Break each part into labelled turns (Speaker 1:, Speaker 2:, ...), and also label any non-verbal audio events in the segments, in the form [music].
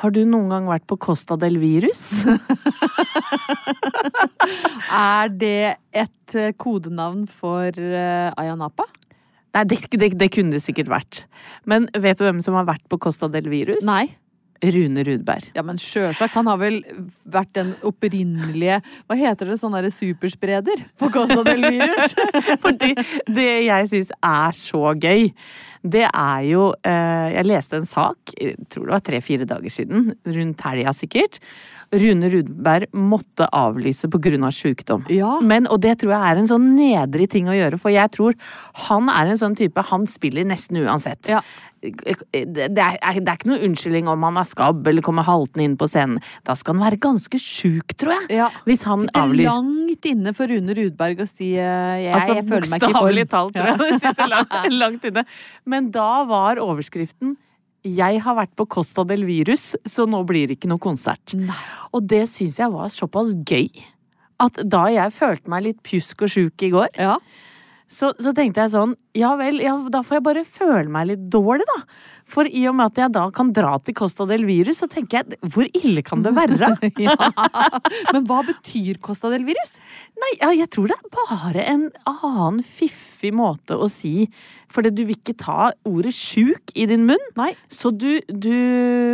Speaker 1: Har du noen gang vært på Costa del
Speaker 2: [laughs]
Speaker 1: Virus?
Speaker 2: Er det et eh, kodenavn for eh, Ayanapa?
Speaker 1: Nei, det, det, det kunne det sikkert vært. Men vet du hvem som har vært på Costa del Virus?
Speaker 2: Nei.
Speaker 1: Rune Rudberg.
Speaker 2: Ja, men sjølsagt. Han har vel vært den opprinnelige Hva heter det? Sånn derre superspreder på Costa del
Speaker 1: [laughs]
Speaker 2: Virus?
Speaker 1: Fordi det jeg syns er så gøy, det er jo eh, Jeg leste en sak, jeg tror det var tre-fire dager siden, rundt helga sikkert. Rune Rudberg måtte avlyse pga. Av sjukdom.
Speaker 2: Ja.
Speaker 1: Men, og det tror jeg er en sånn nedrig ting å gjøre, for jeg tror han er en sånn type Han spiller nesten uansett.
Speaker 2: Ja.
Speaker 1: Det det er, det er ikke noen unnskyldning om han har skabb eller kommer haltende inn på scenen. Da skal han være ganske sjuk, tror jeg.
Speaker 2: Ja.
Speaker 1: Hvis han
Speaker 2: Sitter
Speaker 1: avlyser.
Speaker 2: langt inne for Rune Rudberg og si eh, jeg,
Speaker 1: Altså,
Speaker 2: jeg føler meg ikke i form.
Speaker 1: Bokstavelig talt, tror jeg. Det sitter langt, [laughs] langt inne. Men da var overskriften 'Jeg har vært på Costa del Virus, så nå blir det ikke noe konsert'. Og det syns jeg var såpass gøy. At da jeg følte meg litt pjusk og sjuk i går,
Speaker 2: Ja.
Speaker 1: så, så tenkte jeg sånn Ja vel, ja, da får jeg bare føle meg litt dårlig, da. For i og med at jeg da kan dra til Costa del Virus, så tenker jeg Hvor ille kan det
Speaker 2: [laughs]
Speaker 1: være?
Speaker 2: ja. Men hva betyr Costa del Virus?
Speaker 1: Nei, ja, jeg tror det er bare en annen fiffig måte å si For du vil ikke ta ordet sjuk i din munn,
Speaker 2: Nei.
Speaker 1: så du, du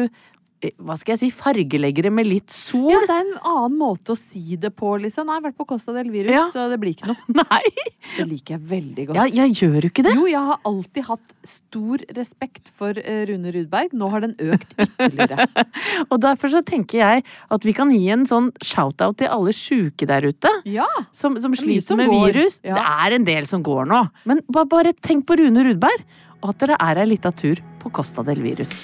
Speaker 1: eh, Hva skal jeg si? Fargelegger det med litt sol?
Speaker 2: Ja, det er en annen måte å si det på, liksom. Nei, jeg har vært på Costa del Virus,
Speaker 1: Ja.
Speaker 2: så det blir ikke noe.
Speaker 1: [laughs] Nei!
Speaker 2: Det liker jeg veldig godt.
Speaker 1: Ja, jeg gjør jo ikke det.
Speaker 2: Jo, jeg har alltid hatt stor respekt for eh, Rune Rudberg. Nå har den økt ytterligere.
Speaker 1: Og derfor så tenker jeg at vi kan gi en sånn shout-out til alle sjuke der ute.
Speaker 2: Ja!
Speaker 1: Som, som sliter
Speaker 2: som
Speaker 1: med
Speaker 2: går.
Speaker 1: virus.
Speaker 2: Ja.
Speaker 1: Det er en del som går nå. Men ba, bare tenk på Rune Rudberg, og at dere er ei lita tur på Costa del Virus.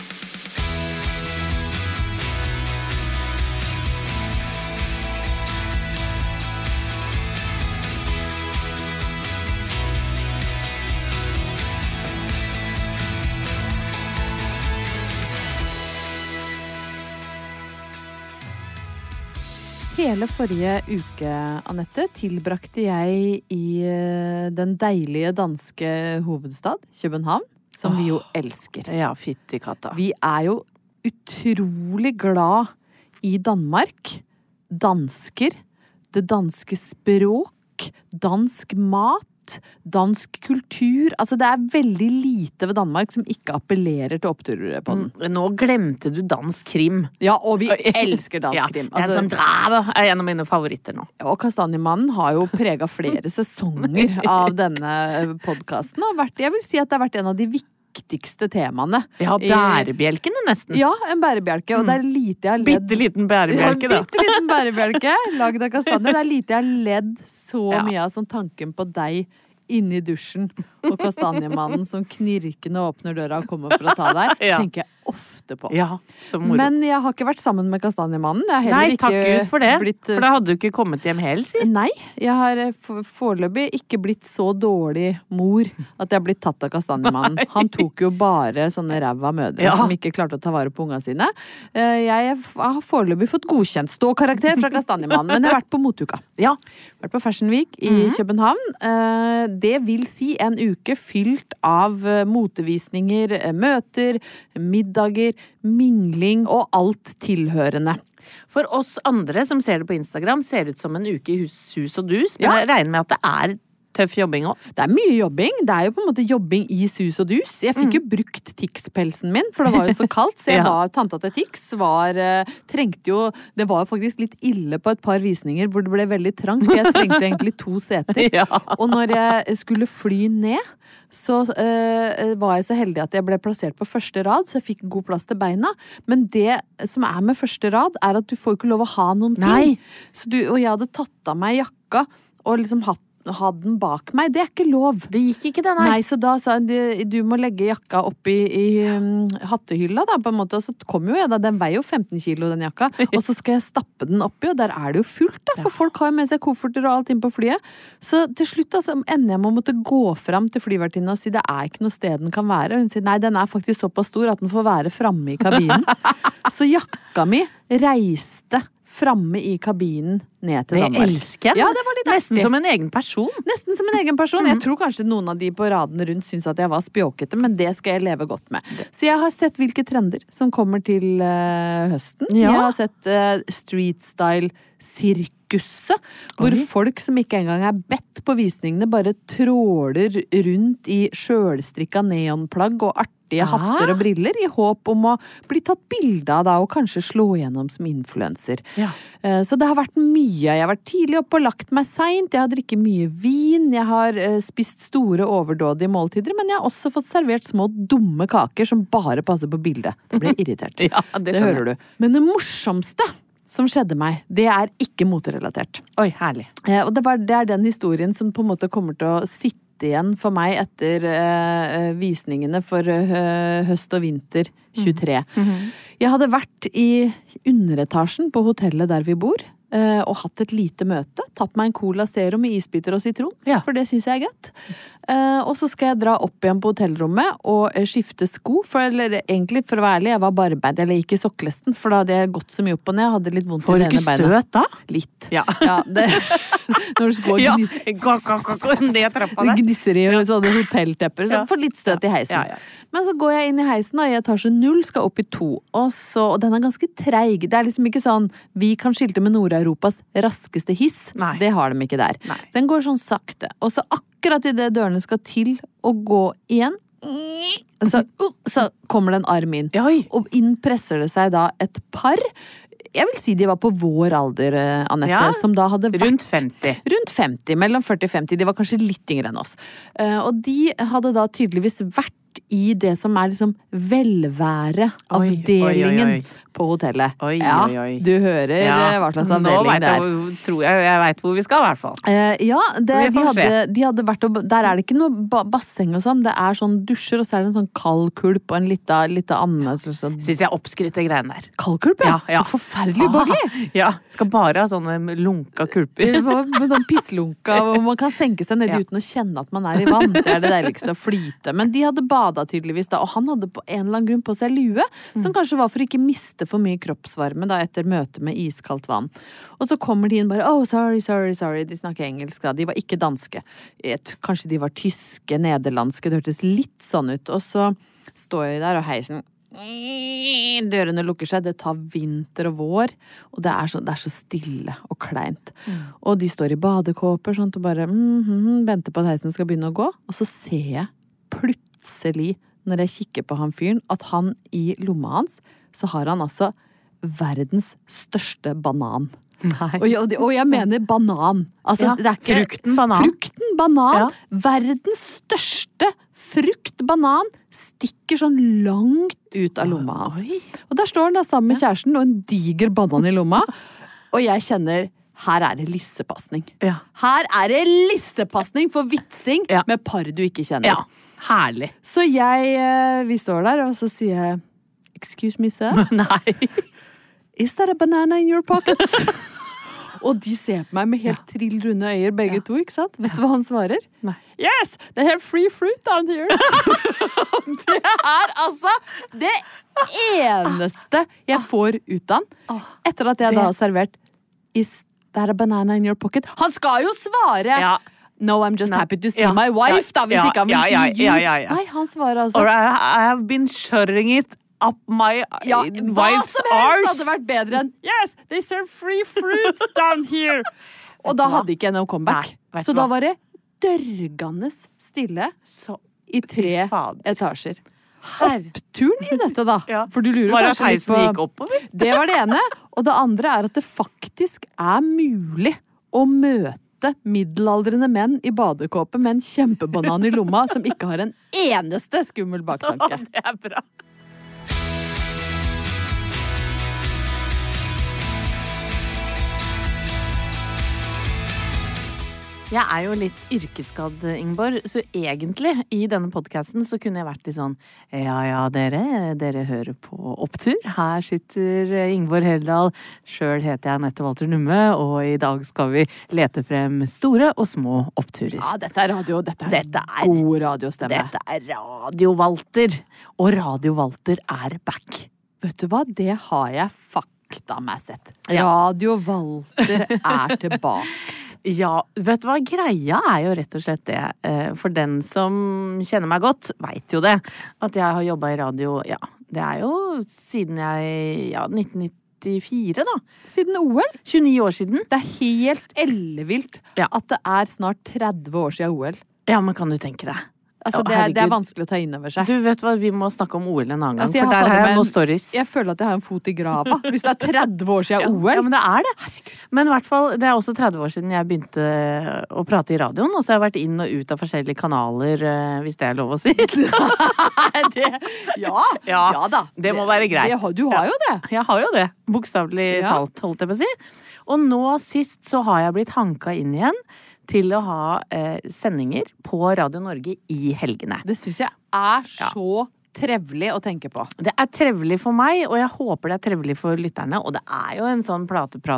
Speaker 2: Hele forrige uke, Anette, tilbrakte jeg i eh, den deilige danske hovedstad, København. Som vi jo elsker.
Speaker 1: Ja, fytti katta.
Speaker 2: Vi er jo utrolig glad i Danmark. Dansker. Det danske språk. Dansk mat. Dansk kultur. Altså, det er veldig lite ved Danmark som ikke appellerer til oppturer på den.
Speaker 1: Mm, Nå glemte du dansk krim.
Speaker 2: Ja, og vi elsker dansk krim.
Speaker 1: [laughs] Ja, den som
Speaker 2: Altså,
Speaker 1: draver er en av mine favoritter nå.
Speaker 2: og Kastanjemannen har jo prega flere
Speaker 1: [laughs]
Speaker 2: sesonger av denne podkasten. Og vært, jeg vil si at det har vært en av de viktigste temaene.
Speaker 1: Ja,
Speaker 2: i-
Speaker 1: bærebjelkene nesten.
Speaker 2: Ja, en bærebjelke. Og det er lite jeg har ledd
Speaker 1: Bitte liten bærebjelke, da.
Speaker 2: Bitte liten bærebjelke lagd av kastanje. Det er lite jeg har ledd så
Speaker 1: Ja.
Speaker 2: mye av som tanken på deg inni dusjen og kastanjemannen som knirkende åpner døra og kommer for å ta deg.
Speaker 1: Ja.
Speaker 2: Tenker jeg ofte på.
Speaker 1: Ja, så moro.
Speaker 2: Men jeg har ikke vært sammen med Kastanjemannen. Jeg har heller
Speaker 1: Nei, takk
Speaker 2: ikke
Speaker 1: Gud for det.
Speaker 2: Blitt, eh,
Speaker 1: For da hadde du ikke kommet hjem hel, si.
Speaker 2: Nei, jeg har eh, for- foreløpig ikke blitt så dårlig mor at jeg har blitt tatt av Kastanjemannen. Han tok jo bare sånne ræva mødre
Speaker 1: Ja.
Speaker 2: som ikke klarte å ta vare på unga sine. Eh, Jeg f- har foreløpig fått godkjent ståkarakter fra Kastanjemannen, men jeg har vært på motuka.
Speaker 1: Ja.
Speaker 2: Vært på Fashion Week i København. Eh, Det vil si en uke fylt av eh, motevisninger, eh, møter, middager, mingling og alt tilhørende.
Speaker 1: For oss andre som ser det på Instagram, ser det ut som en uke i hus, sus og dus. Men
Speaker 2: Ja.
Speaker 1: jeg regner med at det er tøff jobbing òg.
Speaker 2: Det er mye jobbing. Det er jo på en måte jobbing i sus og dus. Jeg fikk jo brukt Tix-pelsen min, for det var jo så
Speaker 1: [laughs]
Speaker 2: kaldt. Så jeg
Speaker 1: Mm. Ja.
Speaker 2: var, tanta til Tix var eh, Trengte jo Det var jo faktisk litt ille på et par visninger hvor det ble veldig trangt, for jeg trengte egentlig to seter.
Speaker 1: [laughs] Ja.
Speaker 2: [laughs] Og når jeg skulle fly ned, så eh, var jeg så heldig at jeg ble plassert på første rad, så jeg fikk god plass til beina. Men det som er med første rad, er at du får ikke lov å ha noen ting.
Speaker 1: Nei.
Speaker 2: Så du, og jeg hadde tatt av meg jakka og liksom hatt hatt den bak meg. Det er ikke lov.
Speaker 1: Det gikk ikke, det,
Speaker 2: Nei.
Speaker 1: nei.
Speaker 2: så da sa han du, du må legge jakka oppi i, um, hattehylla, da, på en måte. Og så kom jo jeg, da. Den veier jo 15 kilo, den
Speaker 1: [laughs]
Speaker 2: jakka. Og så skal jeg stappe den oppi, og der er det jo fullt, da. For folk har jo med seg kofferter og alt inn på flyet. Så til slutt altså, ender jeg med å måtte gå fram til flyvertinna og si det er ikke noe sted den kan være. Og hun sier nei, den er faktisk såpass stor at den får være framme i
Speaker 1: [laughs]
Speaker 2: kabinen. så jakka mi reiste framme i kabinen ned til
Speaker 1: Det
Speaker 2: Danmark.
Speaker 1: elsker jeg.
Speaker 2: Ja, det var litt
Speaker 1: Nesten
Speaker 2: artig.
Speaker 1: som en egen person.
Speaker 2: Nesten som en egen person. Jeg tror kanskje noen av de på radene rundt syns at jeg var spjåkete, men det skal jeg leve godt med. Så jeg har sett hvilke trender som kommer til eh, høsten.
Speaker 1: Ja.
Speaker 2: Jeg har sett eh, street style-sirkuset, hvor folk som ikke engang er bedt på visningene, bare tråler rundt i sjølstrikka neonplagg og artige hatter og briller i håp om å bli tatt bilde av da, og kanskje slå gjennom som influenser.
Speaker 1: Ja.
Speaker 2: Eh, Så det har vært mye. Jeg har vært tidlig oppe og lagt meg seint. Jeg har drikket mye vin. Jeg har eh, spist store, overdådige måltider. Men jeg har også fått servert små, dumme kaker som bare passer på bildet. Da blir jeg irritert.
Speaker 1: [laughs] Ja, det
Speaker 2: det
Speaker 1: skjønner
Speaker 2: hører du. Men det morsomste som skjedde meg, det er ikke moterelatert.
Speaker 1: Oi, herlig.
Speaker 2: Eh, Og det, var, det er den historien som på en måte kommer til å sitte igjen for meg etter eh, eh, visningene for eh, høst og vinter
Speaker 1: Mm.
Speaker 2: 23.
Speaker 1: Mm-hmm.
Speaker 2: Jeg hadde vært i underetasjen på hotellet der vi bor. eh, Og hatt et lite møte. Tatt meg en Cola Zero med isbiter og sitron.
Speaker 1: Ja.
Speaker 2: For det syns jeg er godt. Eh, Og så skal jeg dra opp igjen på hotellrommet og eh, skifte sko. For eller, egentlig, for å være ærlig, jeg var barbeint. Eller gikk i sokkelesten, for da hadde jeg gått så mye opp og ned. Jeg hadde litt vondt i
Speaker 1: Får du
Speaker 2: det
Speaker 1: ikke
Speaker 2: ene beinet.
Speaker 1: støt da?
Speaker 2: Litt. [laughs]
Speaker 1: Ja.
Speaker 2: det, når du skal
Speaker 1: Ja.
Speaker 2: gni-
Speaker 1: Gå, gå, gå, gå ned trappa
Speaker 2: det
Speaker 1: der.
Speaker 2: gnisser i sånne hotelltepper. Så
Speaker 1: Ja.
Speaker 2: får litt støt i heisen.
Speaker 1: Ja, ja.
Speaker 2: Men så går jeg inn i heisen, da, i etasje null, skal opp i to. Og, så, og den er ganske treig. Det er liksom ikke sånn Vi kan skilte med Nord-Europas raskeste hiss.
Speaker 1: Nei.
Speaker 2: Det har de ikke der.
Speaker 1: Nei.
Speaker 2: Så den går sånn sakte. Og så akkurat idet dørene skal til å gå igjen, så, så kommer det en arm inn.
Speaker 1: Oi.
Speaker 2: Og inn presser det seg da et par. Jeg vil si de var på vår alder, eh, Anette.
Speaker 1: Ja,
Speaker 2: Som da hadde vært
Speaker 1: Rundt 50.
Speaker 2: Rundt 50, mellom 40 og 50. De var kanskje litt yngre enn oss. Eh, Og de hadde da tydeligvis vært i det som er liksom velværeavdelingen
Speaker 1: Oi, oi, oi, oi.
Speaker 2: på hotellet.
Speaker 1: Oi,
Speaker 2: ja,
Speaker 1: oi, oi.
Speaker 2: Du hører eh, hva slags
Speaker 1: Nå
Speaker 2: avdeling
Speaker 1: vet
Speaker 2: det er.
Speaker 1: jeg, hvor- tror jeg jeg veit hvor vi skal, i hvert fall.
Speaker 2: Eh, ja, det,
Speaker 1: Vi
Speaker 2: de,
Speaker 1: får se.
Speaker 2: hadde, de hadde vært og Der er det ikke noe ba basseng og sånn. Det er sånn dusjer, og så er det en sånn kald kulp og en lita, lita annerledes sånn.
Speaker 1: Syns jeg er oppskrytt, de greiene der.
Speaker 2: Kald kulp, ja!
Speaker 1: Ja, ja.
Speaker 2: Forferdelig ubehagelig!
Speaker 1: Ja. Skal bare ha sånne lunka kulper.
Speaker 2: Det var Med sånn pisslunka hvor man kan senke seg ned
Speaker 1: Ja.
Speaker 2: uten å kjenne at man er i vann. Det er det deiligste å flyte. Men de hadde bada tydeligvis da, og han hadde på en eller annen grunn på seg lue, som kanskje var for å ikke miste for mye kroppsvarme da etter møtet med iskaldt vann. Og så kommer de inn bare oh, sorry, sorry, sorry. De snakker engelsk da. De var ikke danske. Jeg tror kanskje de var tyske, nederlandske. Det hørtes litt sånn ut. Og så står jeg der, og sånn, heisen Dørene lukker seg, det tar vinter og vår, og det er så, det er så stille og kleint. Og de står i badekåper sånn, og bare mm, mm, mm, venter på at heisen skal begynne å gå. Og så ser jeg plutselig, når jeg kikker på han fyren, at han i lomma hans, så har han altså verdens største banan.
Speaker 1: Nei.
Speaker 2: Og jeg, og det- og jeg mener banan. Altså,
Speaker 1: Ja,
Speaker 2: det er ikke
Speaker 1: frukten banan.
Speaker 2: Frukten banan.
Speaker 1: Ja.
Speaker 2: Verdens største frukt banan stikker sånn langt ut av lomma hans.
Speaker 1: Oi.
Speaker 2: Og der står han da sammen med kjæresten og en diger banan i lomma. Og jeg kjenner her er det lissepasning.
Speaker 1: Ja.
Speaker 2: Her er det lissepasning for vitsing
Speaker 1: Ja.
Speaker 2: med par du ikke kjenner. [laughs]
Speaker 1: ja. Herlig.
Speaker 2: Så jeg eh, Vi står der, og så sier jeg Excuse me, sir.
Speaker 1: Nei.
Speaker 2: Is that a banana in your
Speaker 1: [laughs]
Speaker 2: pocket? Og de ser på meg med helt trill runde øyer, begge to. ikke sant? Vet du hva han svarer?
Speaker 1: Nei.
Speaker 2: Yes! They have free fruit down here.
Speaker 1: [laughs]
Speaker 2: det er altså det eneste
Speaker 1: Ah.
Speaker 2: jeg får ut av han. Etter at jeg da har servert Is that a banana in your pocket? Han skal jo svare!
Speaker 1: Ja.
Speaker 2: No, I'm just happy to see
Speaker 1: Ja.
Speaker 2: my wife, da, hvis
Speaker 1: Ja.
Speaker 2: ikke han vil
Speaker 1: Ja, ja,
Speaker 2: si you.
Speaker 1: ja, ja, ja.
Speaker 2: Nei, han svarer altså
Speaker 1: Or I, I have been shutting it up my uh,
Speaker 2: ja, Hva
Speaker 1: wife's
Speaker 2: som helst
Speaker 1: arse.
Speaker 2: hadde vært bedre enn
Speaker 1: Yes, they serve free fruit down here.
Speaker 2: Og da hadde ikke jeg noe comeback.
Speaker 1: Nei, vet
Speaker 2: så
Speaker 1: du
Speaker 2: da
Speaker 1: hva?
Speaker 2: var det dørgende stille
Speaker 1: [laughs] Så,
Speaker 2: i tre
Speaker 1: Fy fader.
Speaker 2: etasjer.
Speaker 1: Herre.
Speaker 2: Oppturen i dette, da.
Speaker 1: [laughs] Ja.
Speaker 2: For du lurer
Speaker 1: Mara
Speaker 2: kanskje litt
Speaker 1: Theisen
Speaker 2: på
Speaker 1: gikk oppover?
Speaker 2: [laughs] Det var det ene. Og det andre er at det faktisk er mulig å møte middelaldrende menn i badekåpe med en kjempebanan i lomma som ikke har en eneste skummel baktanke.
Speaker 1: [laughs] Det er bra. Jeg er jo litt yrkesskadd, Ingeborg, så egentlig i denne podkasten så kunne jeg vært litt sånn Ja ja, dere, dere hører på Opptur. Her sitter Ingeborg Heldal. Sjøl heter jeg Anette Walter Numme, og i dag skal vi lete frem store og små oppturer.
Speaker 2: Ja, dette er radio. Dette er,
Speaker 1: Dette er-
Speaker 2: god radiostemme.
Speaker 1: Dette er Radio-Walter, og Radio-Walter er back.
Speaker 2: Vet du hva, det har jeg faktamessig sett.
Speaker 1: Ja.
Speaker 2: Radio Walter er tilbaks.
Speaker 1: Ja, vet du hva? Greia er jo rett og slett det, eh, for den som kjenner meg godt, veit jo det, at jeg har jobba i radio, ja, det er jo siden jeg Ja, 1994, da.
Speaker 2: Siden OL.
Speaker 1: 29 år siden.
Speaker 2: Det er helt ellevilt
Speaker 1: Ja.
Speaker 2: at det er snart 30 år siden OL.
Speaker 1: Ja, men kan du tenke deg.
Speaker 2: Altså,
Speaker 1: Ja,
Speaker 2: det, er, det er
Speaker 1: herregud.
Speaker 2: vanskelig å ta inn over seg.
Speaker 1: Du vet hva, vi må snakke om OL en annen gang,
Speaker 2: Altså, jeg
Speaker 1: for
Speaker 2: har
Speaker 1: der
Speaker 2: fått
Speaker 1: har
Speaker 2: med
Speaker 1: jeg noen
Speaker 2: en-
Speaker 1: stories.
Speaker 2: Jeg føler at jeg har en fot i grava [laughs] hvis det er 30 år siden
Speaker 1: Ja, Ja,
Speaker 2: OL.
Speaker 1: men det er det. Men i hvert fall, det er også 30 år siden jeg begynte eh, å prate i radioen. Og så har jeg vært inn og ut av forskjellige kanaler, eh, hvis det er lov å
Speaker 2: [laughs]
Speaker 1: si.
Speaker 2: Nei, det, ja, ja,
Speaker 1: Ja,
Speaker 2: da.
Speaker 1: det må være greit.
Speaker 2: Det, har- du har jo det.
Speaker 1: Jeg har jo det. Bokstavelig
Speaker 2: Ja.
Speaker 1: talt, holdt jeg på å si. Og nå sist så har jeg blitt hanka inn igjen til å ha eh, sendinger på Radio Norge i helgene.
Speaker 2: Det syns jeg er så trevelig å tenke på.
Speaker 1: Det er trevelig for meg, og jeg håper det er trevelig for lytterne. Og det er jo en sånn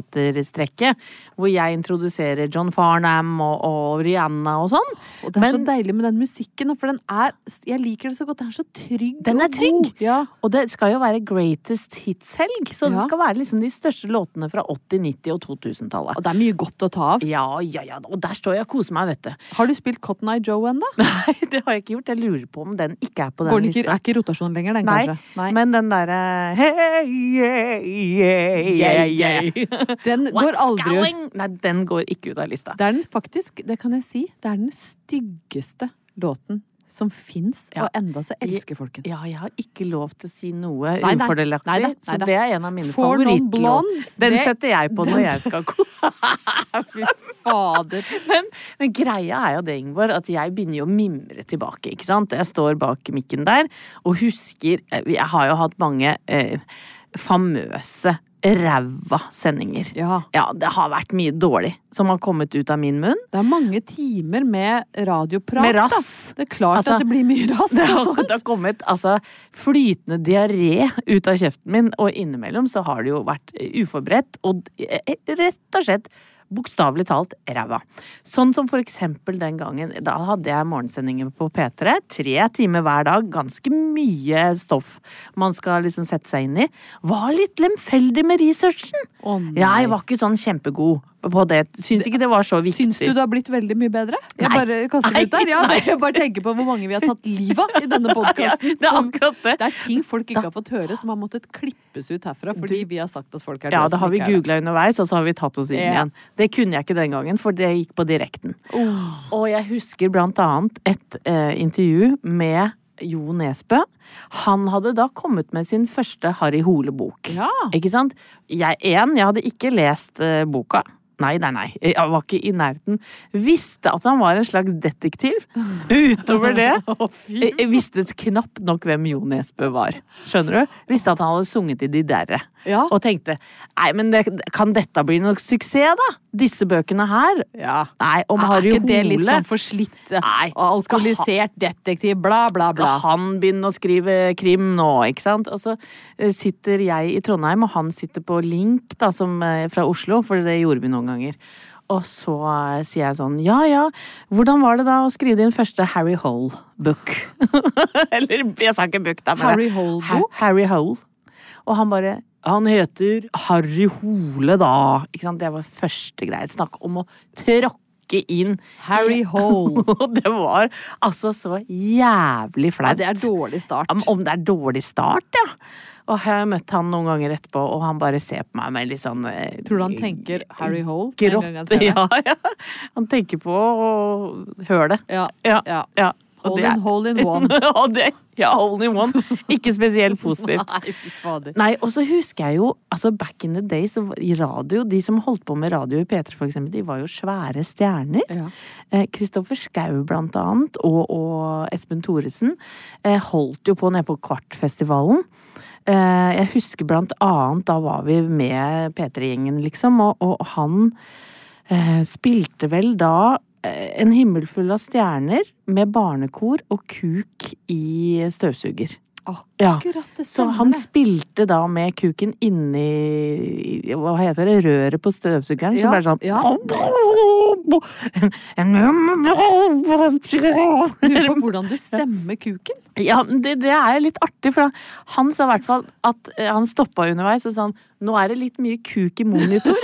Speaker 1: platepraterstrekke hvor jeg introduserer John Farnham og, og Rihanna og sånn.
Speaker 2: Og det er så
Speaker 1: Men-
Speaker 2: deilig med den musikken, for den er Jeg liker det så godt. Den er så trygg.
Speaker 1: Den
Speaker 2: og
Speaker 1: er trygg.
Speaker 2: god. Ja.
Speaker 1: Og det skal jo være greatest hits-helg, så det
Speaker 2: Ja.
Speaker 1: skal være liksom de største låtene fra 80-, 90- og 2000-tallet.
Speaker 2: Og det er mye godt å ta av.
Speaker 1: Ja, ja, ja, og der står jeg og koser meg, vet du. [laughs]
Speaker 2: Har du spilt Cotton Eye Joe ennå?
Speaker 1: Nei, det har jeg ikke gjort. Jeg lurer på om den ikke er på
Speaker 2: Går
Speaker 1: den
Speaker 2: den ikke,
Speaker 1: lista.
Speaker 2: er ikke i rotasjon lenger, den
Speaker 1: Nei,
Speaker 2: kanskje?
Speaker 1: men den derre Hey, yeah, yeah, yeah,
Speaker 2: Yeah,
Speaker 1: yeah. [laughs]
Speaker 2: Den går
Speaker 1: What's
Speaker 2: aldri ut.
Speaker 1: going? Nei, den går ikke ut av lista.
Speaker 2: Det er den faktisk, det kan jeg si, det er den styggeste låten som fins,
Speaker 1: Ja.
Speaker 2: og enda så elsker folk den.
Speaker 1: Ja, jeg har ikke lov til å si noe
Speaker 2: Nei, nei.
Speaker 1: ufordelaktig,
Speaker 2: Nei da, nei
Speaker 1: så
Speaker 2: da.
Speaker 1: det er en av mine
Speaker 2: For non blondes,
Speaker 1: favorittlåter. Den
Speaker 2: det- [laughs]
Speaker 1: setter jeg på når
Speaker 2: den-
Speaker 1: jeg skal kose.
Speaker 2: Fy fader.
Speaker 1: Men, men greia er jo det, Ingeborg, at jeg begynner jo å mimre tilbake. ikke sant? Jeg står bak mikken der og husker Jeg har jo hatt mange eh, famøse ræva sendinger.
Speaker 2: Ja.
Speaker 1: det har vært mye dårlig som har kommet ut av min munn.
Speaker 2: Det er mange timer med radioprat.
Speaker 1: Med
Speaker 2: da.
Speaker 1: rass.
Speaker 2: Det er klart
Speaker 1: Altså,
Speaker 2: at det blir mye
Speaker 1: [laughs]
Speaker 2: rass.
Speaker 1: Det har,
Speaker 2: og sånt.
Speaker 1: det har kommet altså, flytende diaré ut av kjeften min, og innimellom så har det jo vært eh, uforberedt og eh, rett og slett bokstavelig talt ræva. Sånn som for eksempel den gangen da hadde jeg morgensendinger på P3. Tre timer hver dag, ganske mye stoff man skal liksom sette seg inn i. Var litt lemfeldig med researchen.
Speaker 2: Å, nei.
Speaker 1: jeg var ikke sånn kjempegod på det. Syns ikke det var så viktig.
Speaker 2: Syns du det har blitt veldig mye bedre? Jeg
Speaker 1: Nei.
Speaker 2: bare kaster det ut der. Ja, [laughs] jeg bare tenker på hvor mange vi har tatt livet av i
Speaker 1: [laughs]
Speaker 2: denne podkasten.
Speaker 1: det er akkurat det.
Speaker 2: er ting folk ikke har fått høre, som har måttet klippes ut herfra fordi vi har sagt at folk er
Speaker 1: Ja,
Speaker 2: døde
Speaker 1: det
Speaker 2: som
Speaker 1: har vi
Speaker 2: ikke er det.
Speaker 1: googla underveis, og så har vi tatt oss inn
Speaker 2: Ja.
Speaker 1: igjen. Det kunne jeg ikke den gangen, for det gikk på direkten.
Speaker 2: Oh.
Speaker 1: Og jeg husker blant annet et eh, intervju med Jo Nesbø. Han hadde da kommet med sin første Harry Hole-bok.
Speaker 2: Ja.
Speaker 1: Ikke sant? Jeg, en, jeg hadde ikke lest eh, boka. Nei, nei, nei. Jeg var ikke i nærheten. Visste at han var en slags detektiv. Utover det
Speaker 2: [laughs]
Speaker 1: eh, jeg, jeg visste knapt nok hvem Jo Nesbø var. Skjønner du? Visste at han hadde sunget i De derre.
Speaker 2: Ja.
Speaker 1: Og tenkte nei, men det, kan dette bli noe suksess, da? Disse bøkene her?
Speaker 2: ja.
Speaker 1: Nei, om Harry
Speaker 2: Er ikke det litt
Speaker 1: Hole
Speaker 2: sånn forslitt?
Speaker 1: Nei.
Speaker 2: Og Alkoholisert detektiv, bla, bla, bla.
Speaker 1: skal han begynne å skrive krim nå, ikke sant? Og så eh, sitter jeg i Trondheim, og han sitter på Link da, som, eh, fra Oslo, for det gjorde vi noen ganger. Og så eh, sier jeg sånn, ja ja, hvordan var det da å skrive din første Harry Hole-book? [laughs] Eller jeg sa ikke book, da. men-
Speaker 2: Harry Hole-bok?
Speaker 1: Ha Harry Hole. Og han bare han heter Harry Hole, da. Ikke sant? Det var første greie. Snakk om å tråkke inn
Speaker 2: Harry Hole.
Speaker 1: [laughs] og det var altså så jævlig
Speaker 2: Ja,
Speaker 1: flaut.
Speaker 2: det er dårlig
Speaker 1: [laughs]
Speaker 2: start.
Speaker 1: Ja, men Om det er dårlig start, ja. Og jeg har møtt han noen ganger etterpå, og han bare ser på meg med litt sånn eh,
Speaker 2: Tror du han tenker Harry Hole? med en gang han
Speaker 1: Grått. [laughs]
Speaker 2: ser deg?
Speaker 1: Ja, ja. Han tenker på å høre det.
Speaker 2: Ja,
Speaker 1: Ja.
Speaker 2: ja.
Speaker 1: ja. Og
Speaker 2: Hole
Speaker 1: det er-
Speaker 2: in, hole in one.
Speaker 1: [laughs] og det, ja, hole in one. Ikke
Speaker 2: [laughs]
Speaker 1: spesielt positivt.
Speaker 2: Nei, fy fader.
Speaker 1: Nei, og så husker jeg jo altså Back in the days, så var- i radio, de som holdt på med radio i P3 for eksempel, de var jo svære stjerner.
Speaker 2: Ja.
Speaker 1: Eh, Kristoffer Schau blant annet, og, og Espen Thoresen, eh, holdt jo på nede på Kvartfestivalen. Eh, jeg husker blant annet, da var vi med P3-gjengen liksom, og, og han eh, spilte vel da eh, En himmel full av stjerner med barnekor og kuk i støvsuger. Ja.
Speaker 2: Akkurat det
Speaker 1: Så
Speaker 2: stemmer.
Speaker 1: han
Speaker 2: det.
Speaker 1: spilte da med kuken inni i- Hva heter det? Røret på støvsugeren?
Speaker 2: Ja,
Speaker 1: Som bare sånn
Speaker 2: ja. Lurer på hvordan du stemmer
Speaker 1: [laughs]
Speaker 2: kuken.
Speaker 1: [laughs] Ja, men det, det er litt artig, for han- han sa i hvert fall at eh, han stoppa underveis og sa han, nå er det litt mye kuk i monitor.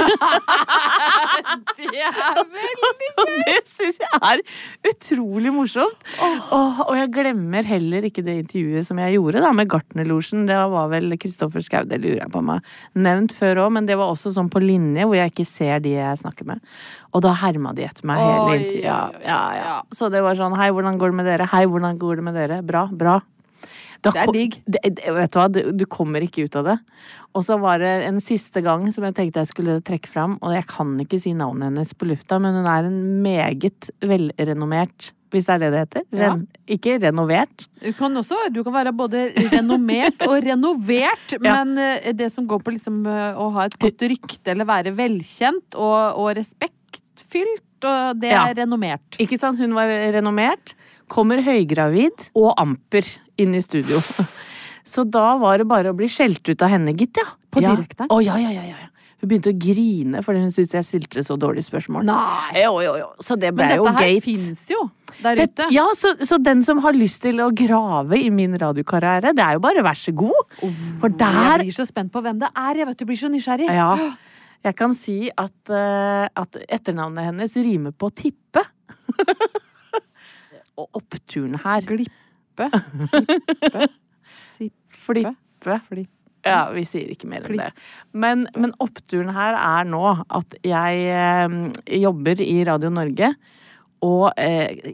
Speaker 2: Det er vel
Speaker 1: Og [laughs] det syns jeg er utrolig morsomt. Åh, og jeg glemmer heller ikke det intervjuet som jeg gjorde da, med Gartnerlosjen. Det var vel Kristoffer Schau, det lurer jeg på om jeg har nevnt før òg, men det var også sånn på linje hvor jeg ikke ser de jeg snakker med. Og da herma de etter meg hele
Speaker 2: Oi,
Speaker 1: intervjuet. Ja,
Speaker 2: oi, oi,
Speaker 1: ja, ja.
Speaker 2: ja.
Speaker 1: Så det var sånn hei, hvordan går det med dere? Hei, hvordan går det med dere? Bra, bra. Da
Speaker 2: Det er
Speaker 1: kom-
Speaker 2: digg.
Speaker 1: Det, det, vet du hva, du, du kommer ikke ut av det. Og så var det en siste gang som jeg tenkte jeg skulle trekke fram, og jeg kan ikke si navnet hennes på lufta, men hun er en meget velrenommert hvis det er det det heter. Ren, Ikke renovert.
Speaker 2: Du kan også du kan være både renommert og
Speaker 1: [laughs]
Speaker 2: renovert, men eh, det som går på liksom eh, å ha et godt rykte eller være velkjent og, og respektfylt, og det
Speaker 1: Ja.
Speaker 2: er renommert.
Speaker 1: Ikke sant, hun var renommert. Kommer høygravid og amper inn i studio. [laughs] Så da var det bare å bli skjelt ut av henne, gitt, ja.
Speaker 2: På
Speaker 1: ja.
Speaker 2: direkten?
Speaker 1: Å, ja, ja, ja, ja. Hun begynte å grine fordi hun syntes jeg stilte så dårlige spørsmål. Eh,
Speaker 2: Nei!
Speaker 1: Jo, jo, jo. Så det ble
Speaker 2: Men
Speaker 1: jo
Speaker 2: dette her
Speaker 1: gate.
Speaker 2: fins jo der
Speaker 1: Det-
Speaker 2: ute.
Speaker 1: Ja, så, så den som har lyst til å grave i min radiokarriere, det er jo bare vær så god. For
Speaker 2: Oh, Jeg
Speaker 1: der
Speaker 2: blir så spent på hvem det er. Jeg vet du blir så nysgjerrig.
Speaker 1: Ja. Jeg kan si at, eh, at etternavnet hennes rimer på tippe.
Speaker 2: [laughs]
Speaker 1: Og oppturen her.
Speaker 2: Glippe, kippe, sippe,
Speaker 1: Flippe. Ja, vi sier ikke mer enn det. Men, men oppturen her er nå at jeg eh, jobber i Radio Norge, og eh,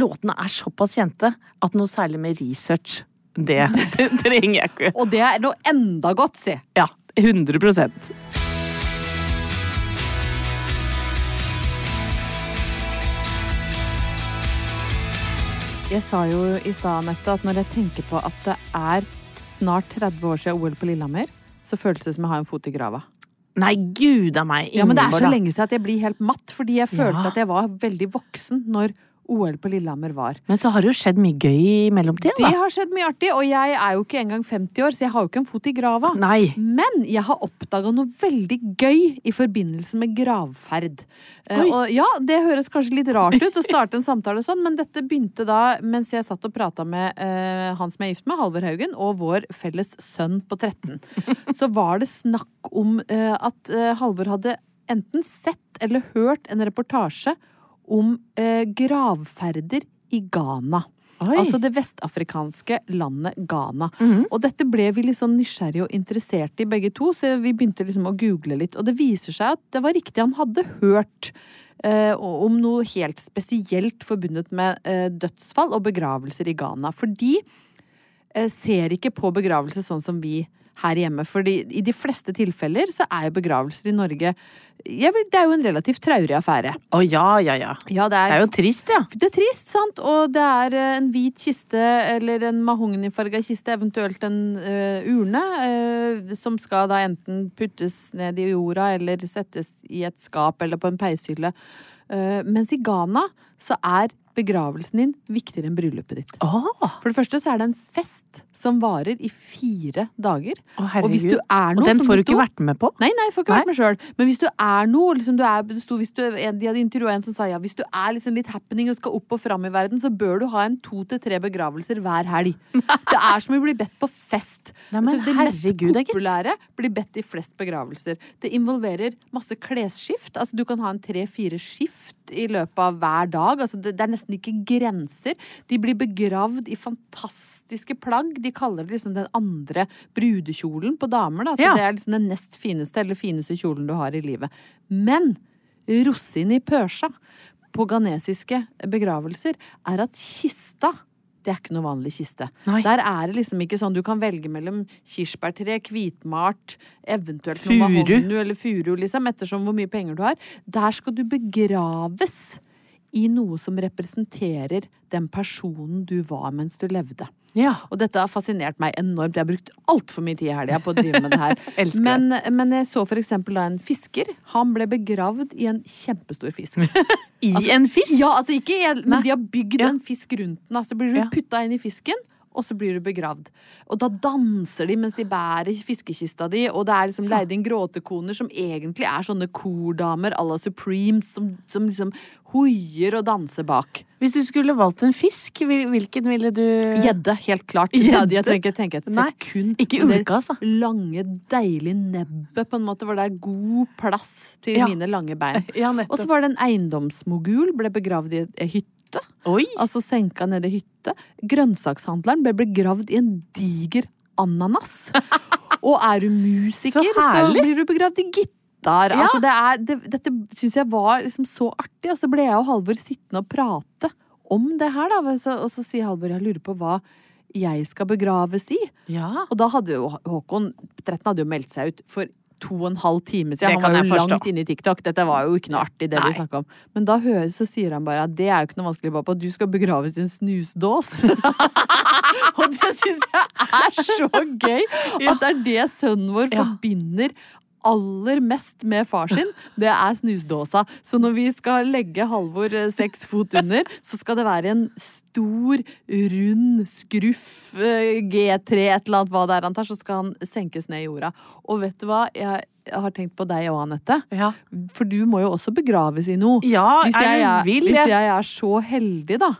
Speaker 1: låtene er såpass kjente at noe særlig med research, [laughs] det, det trenger jeg ikke.
Speaker 2: Og det er noe enda godt, si!
Speaker 1: Ja, 100
Speaker 2: Jeg sa jo i stad, Anette, at når jeg tenker på at det er snart 30 år siden OL på Lillehammer, så føles det som jeg har en fot i grava.
Speaker 1: Nei, gud a meg.
Speaker 2: Ja, men det er
Speaker 1: Ingeborg,
Speaker 2: så
Speaker 1: da.
Speaker 2: lenge siden at jeg blir helt matt, fordi jeg følte
Speaker 1: Ja.
Speaker 2: at jeg var veldig voksen når OL på Lillehammer var.
Speaker 1: Men så har det jo skjedd mye gøy i mellomtiden,
Speaker 2: Det
Speaker 1: da.
Speaker 2: har skjedd mye artig, og jeg er jo ikke engang 50 år, så jeg har jo ikke en fot i grava.
Speaker 1: Nei.
Speaker 2: Men jeg har oppdaga noe veldig gøy i forbindelse med gravferd. Eh,
Speaker 1: Oi.
Speaker 2: og ja, det høres kanskje litt rart ut å starte en samtale sånn, men dette begynte da mens jeg satt og prata med eh, han som jeg er gift med, Halvor Haugen, og vår felles sønn på 13. Så var det snakk om eh, at eh, Halvor hadde enten sett eller hørt en reportasje om eh, gravferder i Ghana.
Speaker 1: Oi. Mhm.
Speaker 2: Altså det vestafrikanske landet Ghana. Og dette ble vi litt sånn nysgjerrige og interesserte i begge to, så vi begynte liksom å google litt. Og det viser seg at det var riktig, han hadde hørt eh, om noe helt spesielt forbundet med eh, dødsfall og begravelser i Ghana. For de eh, ser ikke på begravelse sånn som vi her hjemme. Fordi i de fleste tilfeller så er jo begravelser i Norge jeg vil, Det er jo en relativt traurig affære.
Speaker 1: Å ja, ja, ja.
Speaker 2: Ja,
Speaker 1: Det er jo trist, ja.
Speaker 2: det er trist, sant? Og det er eh, en hvit kiste eller en mahognifarga kiste, eventuelt en eh, urne, eh, som skal da enten puttes ned i jorda eller settes i et skap eller på en peishylle. Eh, mens i Ghana så er begravelsen din viktigere enn bryllupet ditt.
Speaker 1: Å,
Speaker 2: For det første så er det en fest som varer i fire dager.
Speaker 1: herregud.
Speaker 2: Og hvis du er noe
Speaker 1: Og den
Speaker 2: som
Speaker 1: får du
Speaker 2: det sto-
Speaker 1: ikke vært med på.
Speaker 2: Nei, nei, jeg får ikke vært med sjøl. Men hvis du er noe liksom du er, det sto, hvis du, en- De hadde intervjua en som sa ja, hvis du er liksom litt happening og skal opp og fram i verden, så bør du ha en to til tre begravelser hver helg. Det er som å bli bedt på fest.
Speaker 1: Nei, men
Speaker 2: Altså,
Speaker 1: herregud, da,
Speaker 2: mest
Speaker 1: gitt.
Speaker 2: populære blir bedt i flest begravelser. Det involverer masse klesskift. Altså, du kan ha en tre-fire skift i løpet av hver dag. Altså, det, det er nesten ikke grenser. De blir begravd i fantastiske plagg. De kaller det liksom den andre brudekjolen på damer. Da, at
Speaker 1: Ja.
Speaker 2: det er liksom den nest fineste eller fineste kjolen du har i livet. Men rosinen i pørsa på ghanesiske begravelser er at kista det er ikke noe vanlig kiste.
Speaker 1: Nei.
Speaker 2: Der er det liksom ikke sånn du kan velge mellom kirsbærtre, hvitmalt, eventuelt
Speaker 1: Furu.
Speaker 2: noe mahogni eller furu, liksom, ettersom hvor mye penger du har. Der skal du begraves i noe som representerer den personen du var mens du levde.
Speaker 1: Ja.
Speaker 2: Og dette har fascinert meg enormt. Jeg har brukt altfor mye tid i helga på å drive med det
Speaker 1: [laughs]
Speaker 2: her.
Speaker 1: Elsker
Speaker 2: men, men jeg så for eksempel da en fisker. Han ble begravd i en kjempestor
Speaker 1: [laughs]
Speaker 2: fisk.
Speaker 1: I en fisk?
Speaker 2: Ja, altså ikke i en,
Speaker 1: Nei.
Speaker 2: Men de har bygd
Speaker 1: Ja.
Speaker 2: en fisk rundt den. Altså blir du
Speaker 1: Ja.
Speaker 2: putta inn i fisken, og så blir du begravd. Og da danser de mens de bærer fiskekista di, og det er liksom leid inn gråtekoner som egentlig er sånne kordamer à la Supremes, som, som liksom hoier og danser bak.
Speaker 1: Hvis du skulle valgt en fisk, hvil- hvilken ville du
Speaker 2: Gjedde, helt klart.
Speaker 1: Eh, Gjedde?
Speaker 2: Jeg trenger ikke tenke et
Speaker 1: Nei,
Speaker 2: sekund.
Speaker 1: ikke
Speaker 2: på det
Speaker 1: ulke, altså.
Speaker 2: Lange, deilige nebbet, på en måte, hvor det er god plass til
Speaker 1: Ja.
Speaker 2: mine lange bein.
Speaker 1: [laughs] Ja,
Speaker 2: Og så
Speaker 1: nettopp.
Speaker 2: var det en eiendomsmogul, ble begravd i ei hytte.
Speaker 1: Oi!
Speaker 2: Altså senka ned i hytte. Grønnsakshandleren ble begravd i en diger
Speaker 1: [laughs]
Speaker 2: ananas. Og er du musiker,
Speaker 1: Så
Speaker 2: så,
Speaker 1: herlig!
Speaker 2: blir du begravd i gitar.
Speaker 1: Ja.
Speaker 2: Altså, det er, det, dette syns jeg var liksom så artig, og så ble jeg og Halvor sittende og prate om det her, da. Og så, og så sier Halvor jeg lurer på hva jeg skal begraves i.
Speaker 1: Ja.
Speaker 2: Og da hadde jo Håkon 13 hadde jo meldt seg ut for to og en halv time
Speaker 1: Det
Speaker 2: siden.
Speaker 1: kan
Speaker 2: Han var
Speaker 1: jeg
Speaker 2: jo
Speaker 1: forstå.
Speaker 2: langt inne i TikTok. Dette var jo ikke noe artig, det
Speaker 1: Nei.
Speaker 2: vi snakka om. Men da hører, så sier han bare at det er jo ikke noe vanskelig, pappa. Du skal begraves i en snusdås. [laughs] og det syns jeg er så gøy!
Speaker 1: Ja.
Speaker 2: At det er det sønnen vår
Speaker 1: Ja.
Speaker 2: forbinder aller mest med far sin, det er snusdåsa. Så når vi skal legge Halvor eh, seks fot under, så skal det være en stor, rund skruff, eh, G3, et eller annet, hva det er han tar, så skal han senkes ned i jorda. Og vet du hva, jeg har tenkt på deg òg, Anette.
Speaker 1: Ja,
Speaker 2: For du må jo også begraves i noe.
Speaker 1: ja
Speaker 2: Hvis jeg,
Speaker 1: er
Speaker 2: er,
Speaker 1: du vill?
Speaker 2: hvis
Speaker 1: jeg-
Speaker 2: jeg er så heldig, da,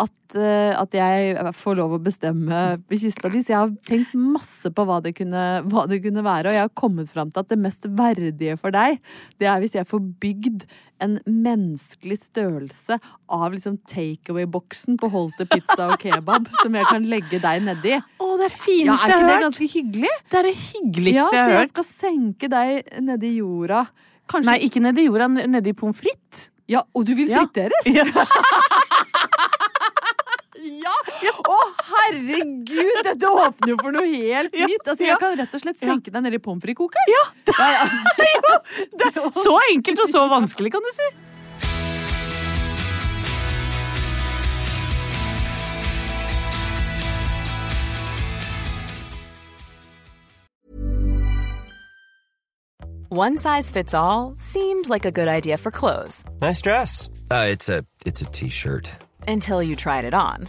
Speaker 2: at, eh, at jeg får lov å bestemme kista di. Så jeg har tenkt masse på hva det, kunne, hva det kunne være, og jeg har kommet fram til at det mest verdige for deg, det er hvis jeg får bygd en menneskelig størrelse av liksom takeaway-boksen på Holte pizza og kebab, [laughs] som jeg kan legge deg nedi.
Speaker 1: Å, det er det
Speaker 2: Ja,
Speaker 1: fineste jeg
Speaker 2: er ikke
Speaker 1: har
Speaker 2: det
Speaker 1: hørt!
Speaker 2: ganske hyggelig?
Speaker 1: Det er det hyggeligste
Speaker 2: Ja, så
Speaker 1: jeg har
Speaker 2: jeg
Speaker 1: hørt.
Speaker 2: skal senke deg nedi jorda. Kanskje
Speaker 1: Nei, ikke nedi jorda, n- nedi pommes frites.
Speaker 2: Ja, og du vil
Speaker 1: Ja.
Speaker 2: friteres?
Speaker 1: Ja.
Speaker 2: [laughs] Ja! Å, herregud! Dette åpner jo for noe helt
Speaker 1: Ja,
Speaker 2: nytt. Altså,
Speaker 1: ja.
Speaker 2: jeg kan rett og slett senke deg ned i pommes frites-kokeren.
Speaker 1: [laughs]
Speaker 2: Ja. det er jo
Speaker 1: Så enkelt og så vanskelig, kan du si.
Speaker 3: One size fits all seemed like a good idea for clothes
Speaker 4: Nice dress. Uh, it's a it's a t-shirt.
Speaker 3: until you tried it on.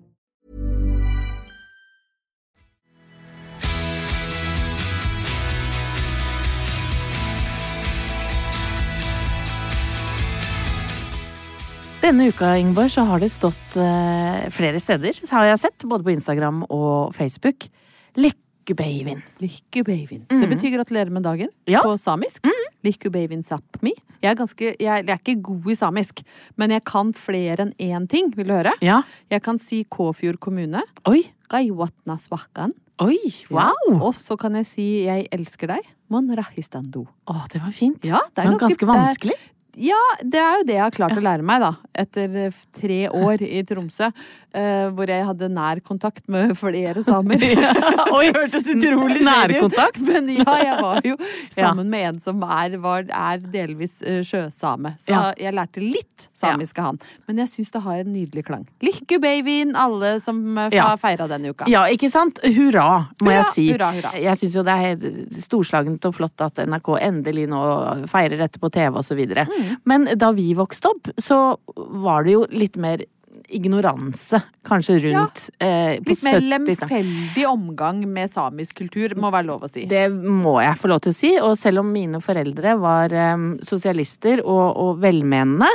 Speaker 1: Denne uka Ingeborg, så har det stått eh, flere steder, har jeg sett, både på Instagram og Facebook, lekkebabyen.
Speaker 2: Liku beivin. Det betyr gratulerer med dagen
Speaker 1: Mm. Ja. Mm.
Speaker 2: på samisk. Liku beivin sapmi. Jeg er, ganske, jeg, jeg er ikke god i samisk, men jeg kan flere enn én ting. Vil du høre?
Speaker 1: Ja.
Speaker 2: Jeg kan si Kåfjord kommune.
Speaker 1: Oi! Oh.
Speaker 2: Gaiwatnasvakkan.
Speaker 1: Oi! Wow! Å,
Speaker 2: Og så kan jeg si jeg elsker deg. Mon rahistandu.
Speaker 1: det var fint.
Speaker 2: Ja, det er
Speaker 1: Men
Speaker 2: ganske-
Speaker 1: ganske, vanskelig.
Speaker 2: Ja, det er jo det jeg har klart å lære meg, da. Etter eh, tre år i Tromsø, eh, hvor jeg hadde nær kontakt med [laughs] flere samer.
Speaker 1: [laughs] Oi, hørtes utrolig [laughs] Nærkontakt.
Speaker 2: Men ja, jeg var jo
Speaker 1: [laughs] Ja.
Speaker 2: sammen med en som er, var, er delvis eh, sjøsame. Så
Speaker 1: Ja.
Speaker 2: jeg lærte litt samisk av han. Men jeg syns det har en nydelig klang. Likku babyen, alle som eh, fa-
Speaker 1: Ja.
Speaker 2: feira denne uka.
Speaker 1: Ja, ikke sant? Hurra, må
Speaker 2: Hurra,
Speaker 1: jeg si.
Speaker 2: hurra, hurra.
Speaker 1: Jeg syns jo det er helt storslagent og flott at NRK endelig nå feirer dette på TV og så videre.
Speaker 2: Mm.
Speaker 1: Men da vi vokste opp, så var det jo litt mer ignoranse, kanskje rundt eh, på
Speaker 2: Litt mer
Speaker 1: 70-tallet.
Speaker 2: lemfeldig omgang med samisk kultur, må være lov å si.
Speaker 1: Det må jeg få lov til å si, og selv om mine foreldre var em, sosialister og, og velmenende,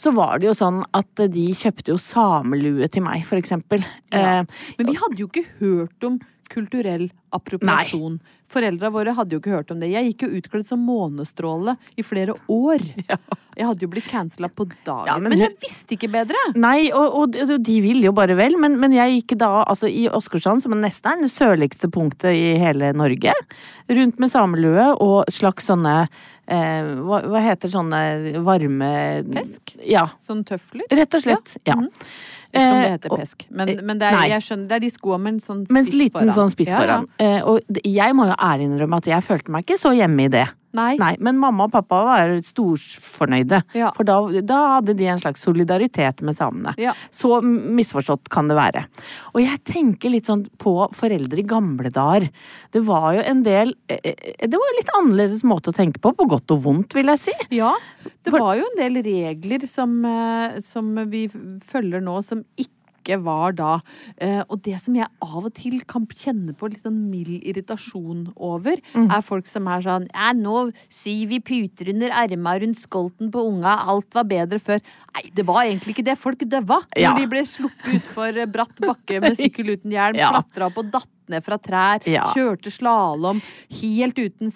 Speaker 1: så var det jo sånn at de kjøpte jo samelue til meg, for eksempel.
Speaker 2: Ja.
Speaker 1: Eh,
Speaker 2: Men vi hadde jo ikke hørt om kulturell appropriasjon. Foreldra våre hadde jo ikke hørt om det. Jeg gikk jo utkledd som månestråle i flere
Speaker 1: [laughs]
Speaker 2: år. Jeg hadde jo blitt cancella på dagen.
Speaker 1: Ja, men
Speaker 2: men,
Speaker 1: hun-
Speaker 2: jeg visste ikke bedre!
Speaker 1: Nei, og, og, de- de vil jo bare vel, men, men jeg gikk da altså, i Åsgårdstrand, som er nesten er det sørligste punktet i hele Norge, rundt med samelue og slags sånne eh, hva, hva heter sånne varme
Speaker 2: Pesk?
Speaker 1: Ja.
Speaker 2: Sånn tøfler.
Speaker 1: Rett og slett. Ja.
Speaker 2: Ikke om det
Speaker 1: Eh,
Speaker 2: heter
Speaker 1: og-
Speaker 2: pesk. Men,
Speaker 1: eh,
Speaker 2: men det, er,
Speaker 1: nei.
Speaker 2: jeg skjønner, det er de skoa med en sånn
Speaker 1: Mens
Speaker 2: spiss
Speaker 1: liten
Speaker 2: foran.
Speaker 1: sånn spiss
Speaker 2: Ja, ja.
Speaker 1: foran. Eh, og d- jeg må jo ærlig innrømme at jeg følte meg ikke så hjemme i det.
Speaker 2: Nei.
Speaker 1: Men mamma og pappa var storfornøyde.
Speaker 2: Ja.
Speaker 1: For da, da hadde de en slags solidaritet med samene.
Speaker 2: Ja.
Speaker 1: Så m- misforstått kan det være. Og jeg tenker litt sånn på foreldre i gamle dager. Det var jo en del eh, eh, Det var en litt annerledes måte å tenke på, på godt og vondt, vil jeg si.
Speaker 2: [laughs] Ja, det var jo en del regler som, eh, som vi følger nå, som ikke var da. Eh, Og det som jeg av og til kan kjenne på litt sånn mild irritasjon over,
Speaker 1: Mm.
Speaker 2: er folk som er sånn «Ja, nå syr vi puter under erma rundt skolten på unga, alt var bedre før. Nei, det var egentlig ikke det. Folk døva når
Speaker 1: Ja.
Speaker 2: de ble sluppet utfor eh, bratt bakke
Speaker 1: [laughs]
Speaker 2: med sykkel uten hjelm,
Speaker 1: Ja.
Speaker 2: klatra opp og datt ned fra trær,
Speaker 1: Ja.
Speaker 2: kjørte slalåm helt uten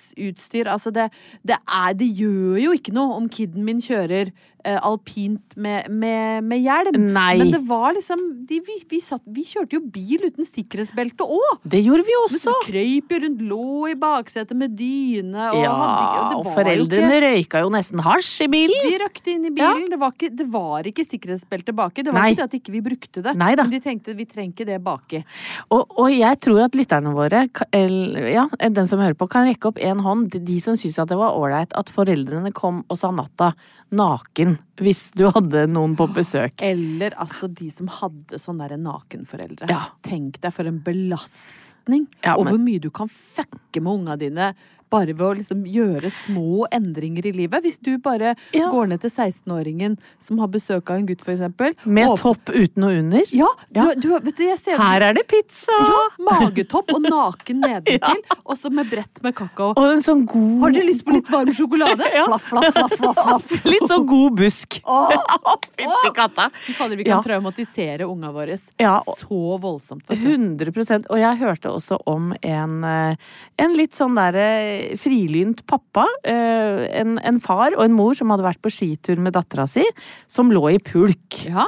Speaker 2: sikkerhetsutstyr. Altså det, det, er, det gjør jo ikke noe om kiden min kjører eh, alpint med, med, med hjelm.
Speaker 1: Nei.
Speaker 2: Men det var liksom de, vi, vi, satt, vi kjørte jo bil uten sikkerhetsbelte òg!
Speaker 1: Det gjorde vi
Speaker 2: Så
Speaker 1: også.
Speaker 2: krøyp jo rundt, lå i baksetet med dyne og
Speaker 1: Ja,
Speaker 2: hadde ikke og det
Speaker 1: og
Speaker 2: var
Speaker 1: foreldrene
Speaker 2: jo ikke-
Speaker 1: røyka jo nesten hasj i bilen.
Speaker 2: de røkte inn i bilen. Det, var ikke, det var ikke sikkerhetsbelte baki. Det var
Speaker 1: Nei.
Speaker 2: ikke det at ikke vi brukte det.
Speaker 1: Nei da.
Speaker 2: Men de tenkte vi trenger ikke det baki.
Speaker 1: Og, og jeg tror at lytterne våre, ka- eller, ja, den som hører på, kan rekke opp en hånd. til De som syntes at det var ålreit at foreldrene kom og sa natta naken hvis du hadde noen på besøk.
Speaker 2: Eller altså de som hadde sånne der nakenforeldre.
Speaker 1: Ja.
Speaker 2: Tenk deg for en belastning,
Speaker 1: Ja,
Speaker 2: og
Speaker 1: men-
Speaker 2: hvor mye du kan fucke med unga dine bare ved å liksom gjøre små endringer i livet. Hvis du bare
Speaker 1: Ja.
Speaker 2: går ned til 16-åringen som har besøk av en gutt, for eksempel.
Speaker 1: Med
Speaker 2: og-
Speaker 1: topp uten og under.
Speaker 2: Ja, du,
Speaker 1: Ja.
Speaker 2: du, vet du, jeg ser
Speaker 1: Her er det pizza!
Speaker 2: ja, magetopp og naken
Speaker 1: [laughs]
Speaker 2: nedentil, og så med brett med kakao.
Speaker 1: Og en sånn god
Speaker 2: Har dere lyst på litt varm sjokolade?
Speaker 1: [laughs] Ja.
Speaker 2: Flaff, flaff, flaff, flaff, flaff.
Speaker 1: [laughs] Litt sånn god busk. Å, [laughs] Fytti katta!
Speaker 2: Fy fader, vi kan
Speaker 1: Ja.
Speaker 2: traumatisere unga våre
Speaker 1: Ja, og-
Speaker 2: så voldsomt. vet du.
Speaker 1: 100 Og jeg hørte også om en, eh, en litt sånn derre frilynt pappa. eh, En, en far og en mor som hadde vært på skitur med dattera si, som lå i pulk.
Speaker 2: Ja.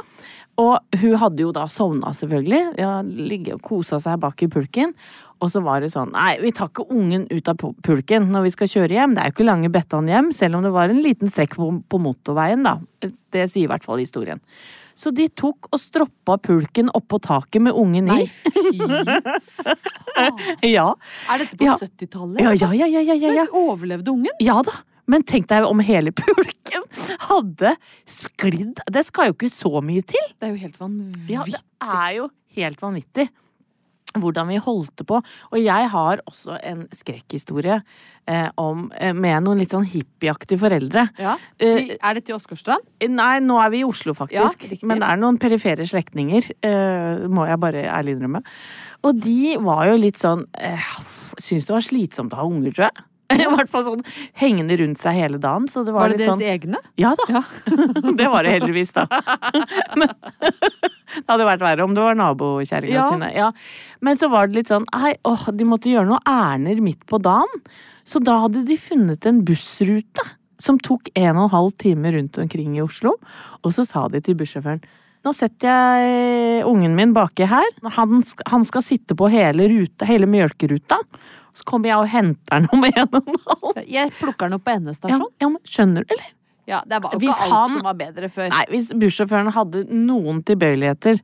Speaker 1: Og hun hadde jo da sovna, selvfølgelig. Ja, ligge og kosa seg bak i pulken. Og så var det sånn Nei, vi tar ikke ungen ut av pu- pulken når vi skal kjøre hjem. Det er jo ikke lange Bettan hjem, selv om det var en liten strekk på, på motorveien, da. Det sier i hvert fall historien. Så de tok og stroppa pulken oppå taket med ungen i.
Speaker 2: Nei, fy
Speaker 1: [laughs] Ja.
Speaker 2: Er dette på
Speaker 1: Ja.
Speaker 2: 70-tallet?
Speaker 1: Ja, ja, ja, ja, ja, ja, ja.
Speaker 2: Men overlevde ungen?
Speaker 1: Ja da, men tenk deg om hele [laughs] pulken hadde sklidd. Det skal jo ikke så mye til.
Speaker 2: Det er jo helt vanvittig.
Speaker 1: Ja, det er jo helt vanvittig. Hvordan vi holdt det på. Og jeg har også en skrekkhistorie eh, om, eh, med noen litt sånn hippieaktige foreldre.
Speaker 2: Ja.
Speaker 1: Eh,
Speaker 2: Er dette i Åsgårdstrand?
Speaker 1: Nei, nå er vi i Oslo, faktisk.
Speaker 2: Ja, riktig.
Speaker 1: Men det er noen perifere slektninger, eh, må jeg bare ærlig innrømme. Og de var jo litt sånn uh, Syns det var slitsomt å ha unger, tror jeg. [laughs] I hvert fall sånn hengende rundt seg hele dagen. Så det var,
Speaker 2: Var det
Speaker 1: litt
Speaker 2: deres
Speaker 1: sånn
Speaker 2: egne?
Speaker 1: ja da. [laughs] det var det heldigvis, da. [laughs] Men det hadde vært verre om det var nabokjerringa
Speaker 2: Ja.
Speaker 1: sine. Ja. Men så var det litt sånn Nei, åh, de måtte gjøre noe ærender midt på dagen. Så da hadde de funnet en bussrute som tok en og en halv time rundt omkring i Oslo. Og så sa de til bussjåføren nå setter jeg eh, ungen min baki her. Han, sk- han skal sitte på hele, ruta, hele mjølkeruta. Så kommer jeg og henter [laughs] han om en og en halv.
Speaker 2: [laughs] Jeg plukker den opp på
Speaker 1: Ja,
Speaker 2: NS-stasjon.
Speaker 1: ja, men skjønner du, eller?
Speaker 2: Ja, det var jo
Speaker 1: Hvis
Speaker 2: ikke alt
Speaker 1: han-
Speaker 2: som var bedre før.
Speaker 1: Eh, Nei, hvis bussjåføren hadde noen tilbøyeligheter,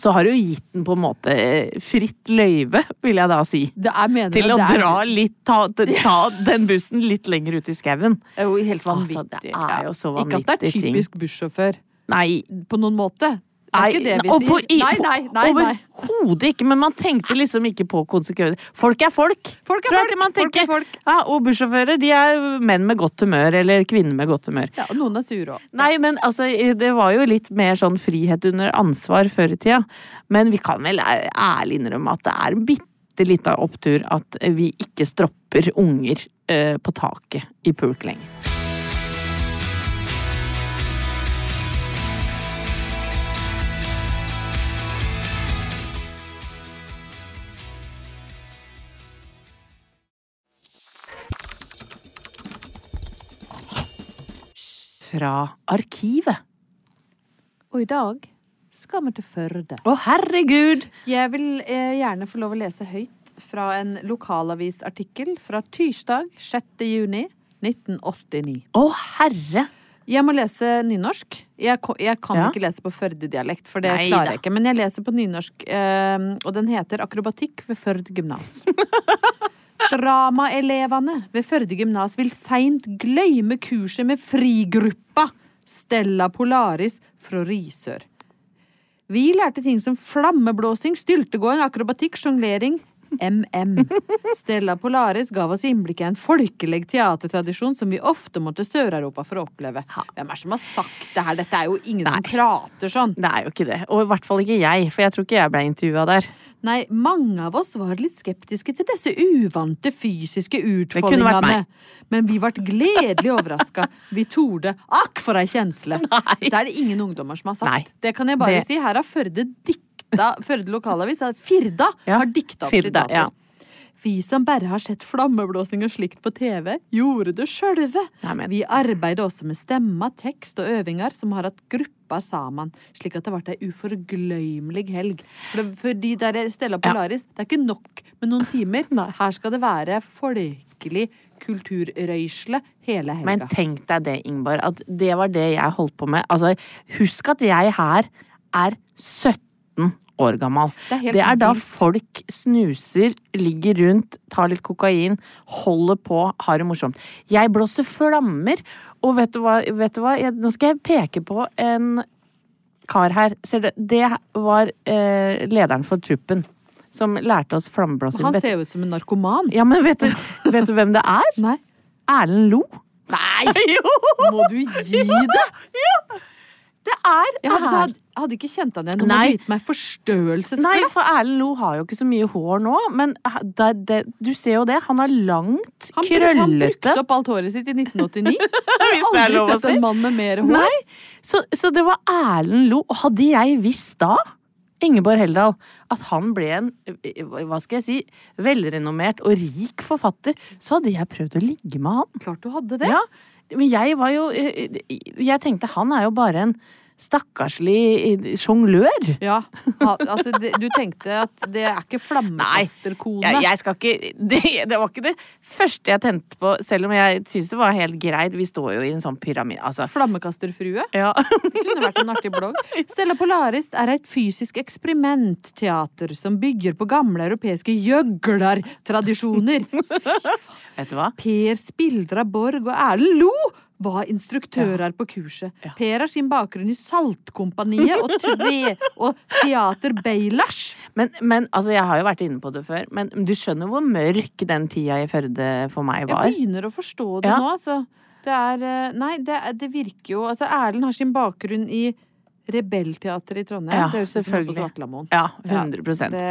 Speaker 1: så har du jo gitt den på en måte eh, fritt løyve, vil jeg da si.
Speaker 2: Det er mener
Speaker 1: Til
Speaker 2: jeg,
Speaker 1: å
Speaker 2: det er-
Speaker 1: dra litt, ta, ta den bussen litt lenger ut i skauen.
Speaker 2: Det er jo helt vanvittig.
Speaker 1: Altså, det er jo så
Speaker 2: Ikke at det
Speaker 1: vanvittig
Speaker 2: er
Speaker 1: ting.
Speaker 2: typisk bussjåfør
Speaker 1: Nei.
Speaker 2: på noen måte. Det er ikke det vi
Speaker 1: og på- i-
Speaker 2: sier. Nei, nei, nei. nei.
Speaker 1: Overhodet ikke, men man tenkte liksom ikke på konsekvenser. Folk er folk!
Speaker 2: Folk er
Speaker 1: tror jeg
Speaker 2: folk,
Speaker 1: at man
Speaker 2: folk er
Speaker 1: tenker.
Speaker 2: folk.
Speaker 1: Ja, og bussjåfører de er menn med godt humør, eller kvinner med godt humør.
Speaker 2: Ja, og noen er sure òg.
Speaker 1: Nei, men altså, det var jo litt mer sånn frihet under ansvar før i tida. Men vi kan vel æ- ærlig innrømme at det er en bitte lita opptur at vi ikke stropper unger eh, på taket i pulk lenger. Fra arkivet.
Speaker 2: Og i dag skal vi til Førde.
Speaker 1: Å, herregud!
Speaker 2: Jeg vil eh, gjerne få lov å lese høyt fra en lokalavisartikkel fra tirsdag 6. juni 1989.
Speaker 1: Å, herre!
Speaker 2: Jeg må lese nynorsk. Jeg, ko- jeg kan
Speaker 1: Ja.
Speaker 2: ikke lese på Førde-dialekt, for det
Speaker 1: Nei
Speaker 2: klarer
Speaker 1: da.
Speaker 2: jeg ikke. Men jeg leser på nynorsk, eh, og den heter Akrobatikk ved Førd
Speaker 1: [laughs]
Speaker 2: gymnas. Dramaelevene ved Førde gymnas vil seint gløyme kurset med frigruppa Stella Polaris fra Risør. Vi lærte ting som flammeblåsing, styltegåing, akrobatikk, sjonglering. MM. Stella Polaris gav oss innblikk i en folkelig teatertradisjon som vi ofte må til Sør-Europa for å oppleve. Hvem er det som har sagt det her? Dette er jo ingen som
Speaker 1: Nei.
Speaker 2: prater sånn.
Speaker 1: Det er jo ikke det. Og i hvert fall ikke jeg, for jeg tror ikke jeg ble intervjua der.
Speaker 2: Nei, mange av oss var litt skeptiske til disse uvante fysiske
Speaker 1: kunne vært
Speaker 2: utfoldingene.
Speaker 1: meg.
Speaker 2: Men vi ble gledelig overraska. Vi torde. Akk for ei kjensle!
Speaker 1: [laughs] Nei.
Speaker 2: Det er det ingen ungdommer som har sagt.
Speaker 1: Nei.
Speaker 2: Det kan jeg bare
Speaker 1: Det-
Speaker 2: si. Her har Førde dikta Førde lokalavis, har- Firda,
Speaker 1: Ja,
Speaker 2: har dikta opp
Speaker 1: Firda,
Speaker 2: sitater.
Speaker 1: ja.
Speaker 2: Vi som bare har sett flammeblåsing og slikt på TV, gjorde det sjølve.
Speaker 1: Nei, men-
Speaker 2: Vi arbeider også med stemmer, tekst og øvinger som har hatt grupper sammen, slik at det ble ei uforgløymelig helg. For, det, for de der Stella Polaris, det er ikke nok med noen
Speaker 1: [laughs]
Speaker 2: timer. Her skal det være folkelig kulturrøysle hele helga.
Speaker 1: Men tenk deg det, Ingvar, at det var det jeg holdt på med. Altså, husk at jeg her er 17 år gammel.
Speaker 2: Det er helt
Speaker 1: da
Speaker 2: vilt.
Speaker 1: folk snuser, ligger rundt, tar litt kokain, holder på, har det morsomt. Jeg blåser flammer, og vet du hva? Vet du hva? Jeg, nå skal jeg peke på en kar her. Ser du, det var eh, lederen for truppen som lærte oss flammeblåsing.
Speaker 2: Han
Speaker 1: Vet-
Speaker 2: ser jo ut som en narkoman.
Speaker 1: Ja, men vet du, vet du hvem det er?
Speaker 2: Nei.
Speaker 1: Erlend Lo.
Speaker 2: [laughs]
Speaker 1: Nei! jo!
Speaker 2: Må du [laughs] gi det?
Speaker 1: Det er
Speaker 2: Jeg hadde,
Speaker 1: Erlend.
Speaker 2: hadde, hadde ikke kjent han igjen. Nå må
Speaker 1: Nei.
Speaker 2: du gitt meg
Speaker 1: Nei,
Speaker 2: forstørrelsesglass.
Speaker 1: for Erlend Lo har jo ikke så mye hår nå, men det, det, du ser jo det. Han har langt,
Speaker 2: Han, bru- han brukte
Speaker 1: krøllete
Speaker 2: opp alt håret sitt i 1989. Jeg
Speaker 1: [laughs] Hvis det
Speaker 2: har
Speaker 1: er
Speaker 2: aldri
Speaker 1: lov å
Speaker 2: sett
Speaker 1: si.
Speaker 2: en mann med mer hår.
Speaker 1: Nei, så, så det var Erlend Lo. Og hadde jeg visst da, Ingeborg Heldal, at han ble en eh, hva skal jeg si, velrenommert og rik forfatter, så hadde jeg prøvd å ligge med han.
Speaker 2: Klart du hadde det.
Speaker 1: Ja, men jeg var jo eh, Jeg tenkte han er jo bare en stakkarslig eh, sjonglør.
Speaker 2: Ja, ha- altså det, du tenkte at det er ikke flammekasterkone.
Speaker 1: Jeg, jeg skal ikke [laughs] det, det var ikke det første jeg tente på, selv om jeg syns det var helt greit. Vi står jo i en sånn pyramide, altså.
Speaker 2: Flammekasterfrue.
Speaker 1: [laughs] Ja.
Speaker 2: Det kunne vært en artig blogg. Stella Polaris er et fysisk eksperimentteater som bygger på gamle europeiske
Speaker 1: [laughs]
Speaker 2: gjøglertradisjoner.
Speaker 1: [laughs] Vet du hva?
Speaker 2: Per Spildra Borg og Erlend Lo var instruktører på kurset. Per har sin bakgrunn i Saltkompaniet og, tve, og Teater Beilers.
Speaker 1: Men, men altså, jeg har jo vært inne på det før, men du skjønner hvor mørk den tida i Førde for meg var?
Speaker 2: Jeg begynner å forstå det
Speaker 1: Ja.
Speaker 2: nå, altså. Det er eh, Nei, det, er- det virker jo Altså, Erlend har sin bakgrunn i Rebellteatret i Trondheim.
Speaker 1: Ja,
Speaker 2: det høres ut som noe på
Speaker 1: selvfølgelig.
Speaker 2: Svartlamoen.
Speaker 1: Ja, 100
Speaker 2: det,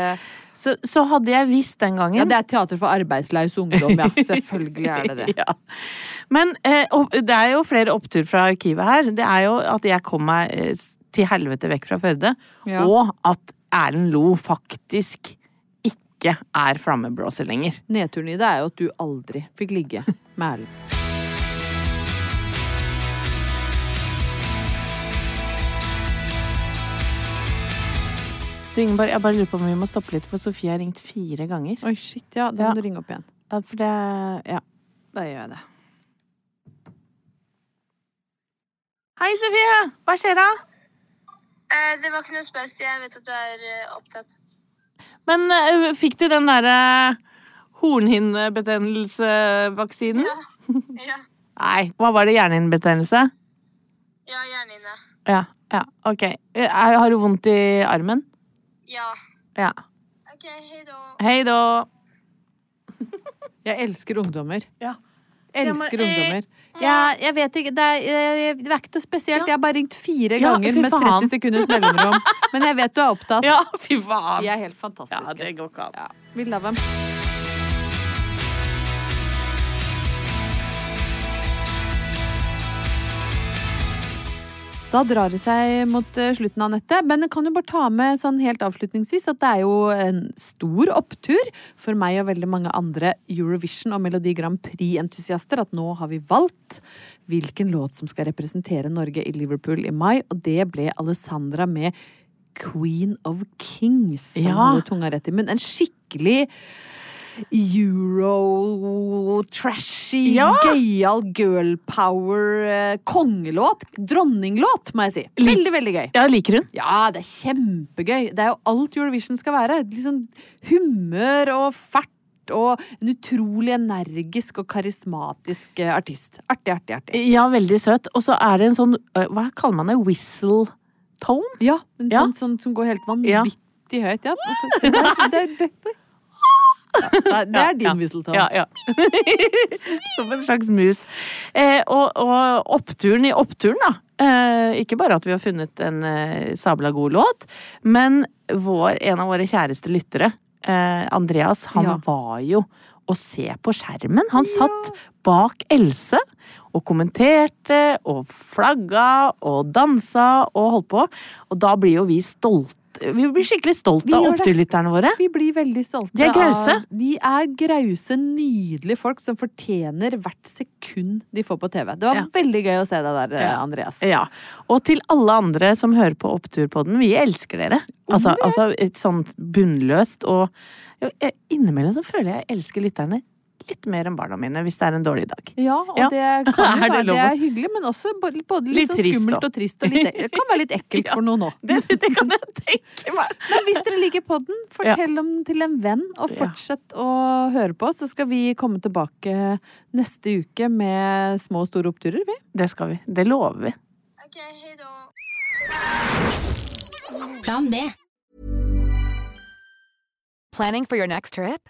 Speaker 1: så, så hadde jeg visst den gangen
Speaker 2: ja, det er teater for arbeidslaus ungdom, [laughs] ja. Selvfølgelig er det
Speaker 1: [laughs]
Speaker 2: det.
Speaker 1: Ja. Men eh, og det er jo flere opptur fra arkivet her. Det er jo at jeg kom meg eh, s- til helvete vekk fra Førde,
Speaker 2: Ja.
Speaker 1: og at Erlend Lo faktisk ikke er flammeblåser lenger.
Speaker 2: Nedturen i det er jo at du aldri fikk ligge med Erlend.
Speaker 1: Du, Ingeborg, jeg bare lurer på om vi må stoppe litt, for Sofie har ringt fire ganger.
Speaker 2: Oi, shit, ja. Da må
Speaker 1: Ja.
Speaker 2: du ringe opp igjen.
Speaker 1: Ja, for det Ja, da gjør jeg det. Hei, Sofie! Hva skjer da?
Speaker 5: Eh, det var ikke noe spes. Jeg vet at du er eh, opptatt.
Speaker 1: Men eh, fikk du den eh, derre hornhinnebetennelsevaksinen?
Speaker 5: Ja,
Speaker 1: Nei. Hva var det? Hjernehinnebetennelse?
Speaker 5: ja hjernen din. eh.
Speaker 1: Ja, ja, ok. Er, har du vondt i armen?
Speaker 5: Ja.
Speaker 1: Ja.
Speaker 5: OK, hei da.
Speaker 1: Hei da.
Speaker 2: Jeg elsker ungdommer.
Speaker 1: Ja.
Speaker 2: Elsker
Speaker 1: Ja, men, eh,
Speaker 2: ungdommer. Jeg, jeg vet ikke, det er, eh, det er ikke noe spesielt. Jeg har bare ringt fire
Speaker 1: Ja,
Speaker 2: ganger
Speaker 1: fy
Speaker 2: med
Speaker 1: faen.
Speaker 2: 30 sekunders mellomrom. Men jeg vet du er opptatt.
Speaker 1: [laughs] Ja, fy faen.
Speaker 2: Vi er helt
Speaker 1: Ja,
Speaker 2: fantastiske.
Speaker 1: det går ikke an.
Speaker 2: Ja, vi love 'em. Da drar det seg mot eh, slutten, Anette. Men jeg kan jo bare ta med sånn helt avslutningsvis at det er jo en stor opptur for meg og veldig mange andre Eurovision- og Melodi Grand Prix-entusiaster at nå har vi valgt hvilken låt som skal representere Norge i Liverpool i mai, og det ble Alessandra med Queen of Kings. som
Speaker 1: Ja.
Speaker 2: holder tunga rett i munnen. En skikkelig euro-trashy,
Speaker 1: Ja.
Speaker 2: gøyal girl power eh, kongelåt. Dronninglåt, må jeg si.
Speaker 1: Litt-
Speaker 2: Veldig, veldig gøy.
Speaker 1: Ja, liker hun?
Speaker 2: Ja, det er kjempegøy. Det er jo alt Eurovision skal være. Liksom humør og fart. Og en utrolig energisk og karismatisk eh, artist. Artig, artig, artig.
Speaker 1: Ja, veldig søt. Og så er det en sånn, øh, hva kaller man det, whistle tone?
Speaker 2: Ja, en
Speaker 1: Ja.
Speaker 2: sånn, sånn som går helt
Speaker 1: Ja.
Speaker 2: vanvittig høyt. Ja. Det er, det er, ja, det er din whistletown.
Speaker 1: Ja, ja. [laughs] Som en slags mus. Eh, og, og oppturen i oppturen, da. Eh, ikke bare at vi har funnet en eh, sabla god låt, men vår, en av våre kjæreste lyttere, eh, Andreas, han
Speaker 2: Ja.
Speaker 1: var jo å se på skjermen. Han satt bak Else og kommenterte og flagga og dansa og holdt på. Og da blir jo vi stolte. Vi blir skikkelig
Speaker 2: Vi
Speaker 1: stolte av
Speaker 2: gjør det.
Speaker 1: oppturlytterne våre.
Speaker 2: Vi blir veldig stolte.
Speaker 1: De er grause.
Speaker 2: Av, de er grause, nydelige folk som fortjener hvert sekund de får på TV. Det var
Speaker 1: Ja.
Speaker 2: veldig gøy å se deg der, eh,
Speaker 1: Ja.
Speaker 2: Andreas.
Speaker 1: Ja. Og til alle andre som hører på Oppturpodden, vi elsker dere. Altså, altså et sånt bunnløst og jo, eh, Innimellom så føler jeg jeg elsker lytterne litt mer enn barna mine hvis det er en dårlig dag.
Speaker 2: Ja, og
Speaker 1: Ja. [laughs]
Speaker 2: det kan jo
Speaker 1: Er det
Speaker 2: være
Speaker 1: lov
Speaker 2: det
Speaker 1: å-
Speaker 2: er hyggelig, men også både, både litt,
Speaker 1: Litt
Speaker 2: sånn
Speaker 1: trist
Speaker 2: skummelt
Speaker 1: også.
Speaker 2: og trist. Og
Speaker 1: [laughs]
Speaker 2: litt, det kan være litt ekkelt for noen òg.
Speaker 1: Det, det kan jeg tenke meg.
Speaker 2: [laughs] Men hvis dere liker podden, fortell om den til en venn, og
Speaker 1: Ja.
Speaker 2: fortsett å høre på. Så skal vi komme tilbake neste uke med små og store oppturer, vi.
Speaker 1: Det skal vi. Det lover vi.
Speaker 5: OK, hei da.
Speaker 3: Plan B.
Speaker 6: Planning for your next trip?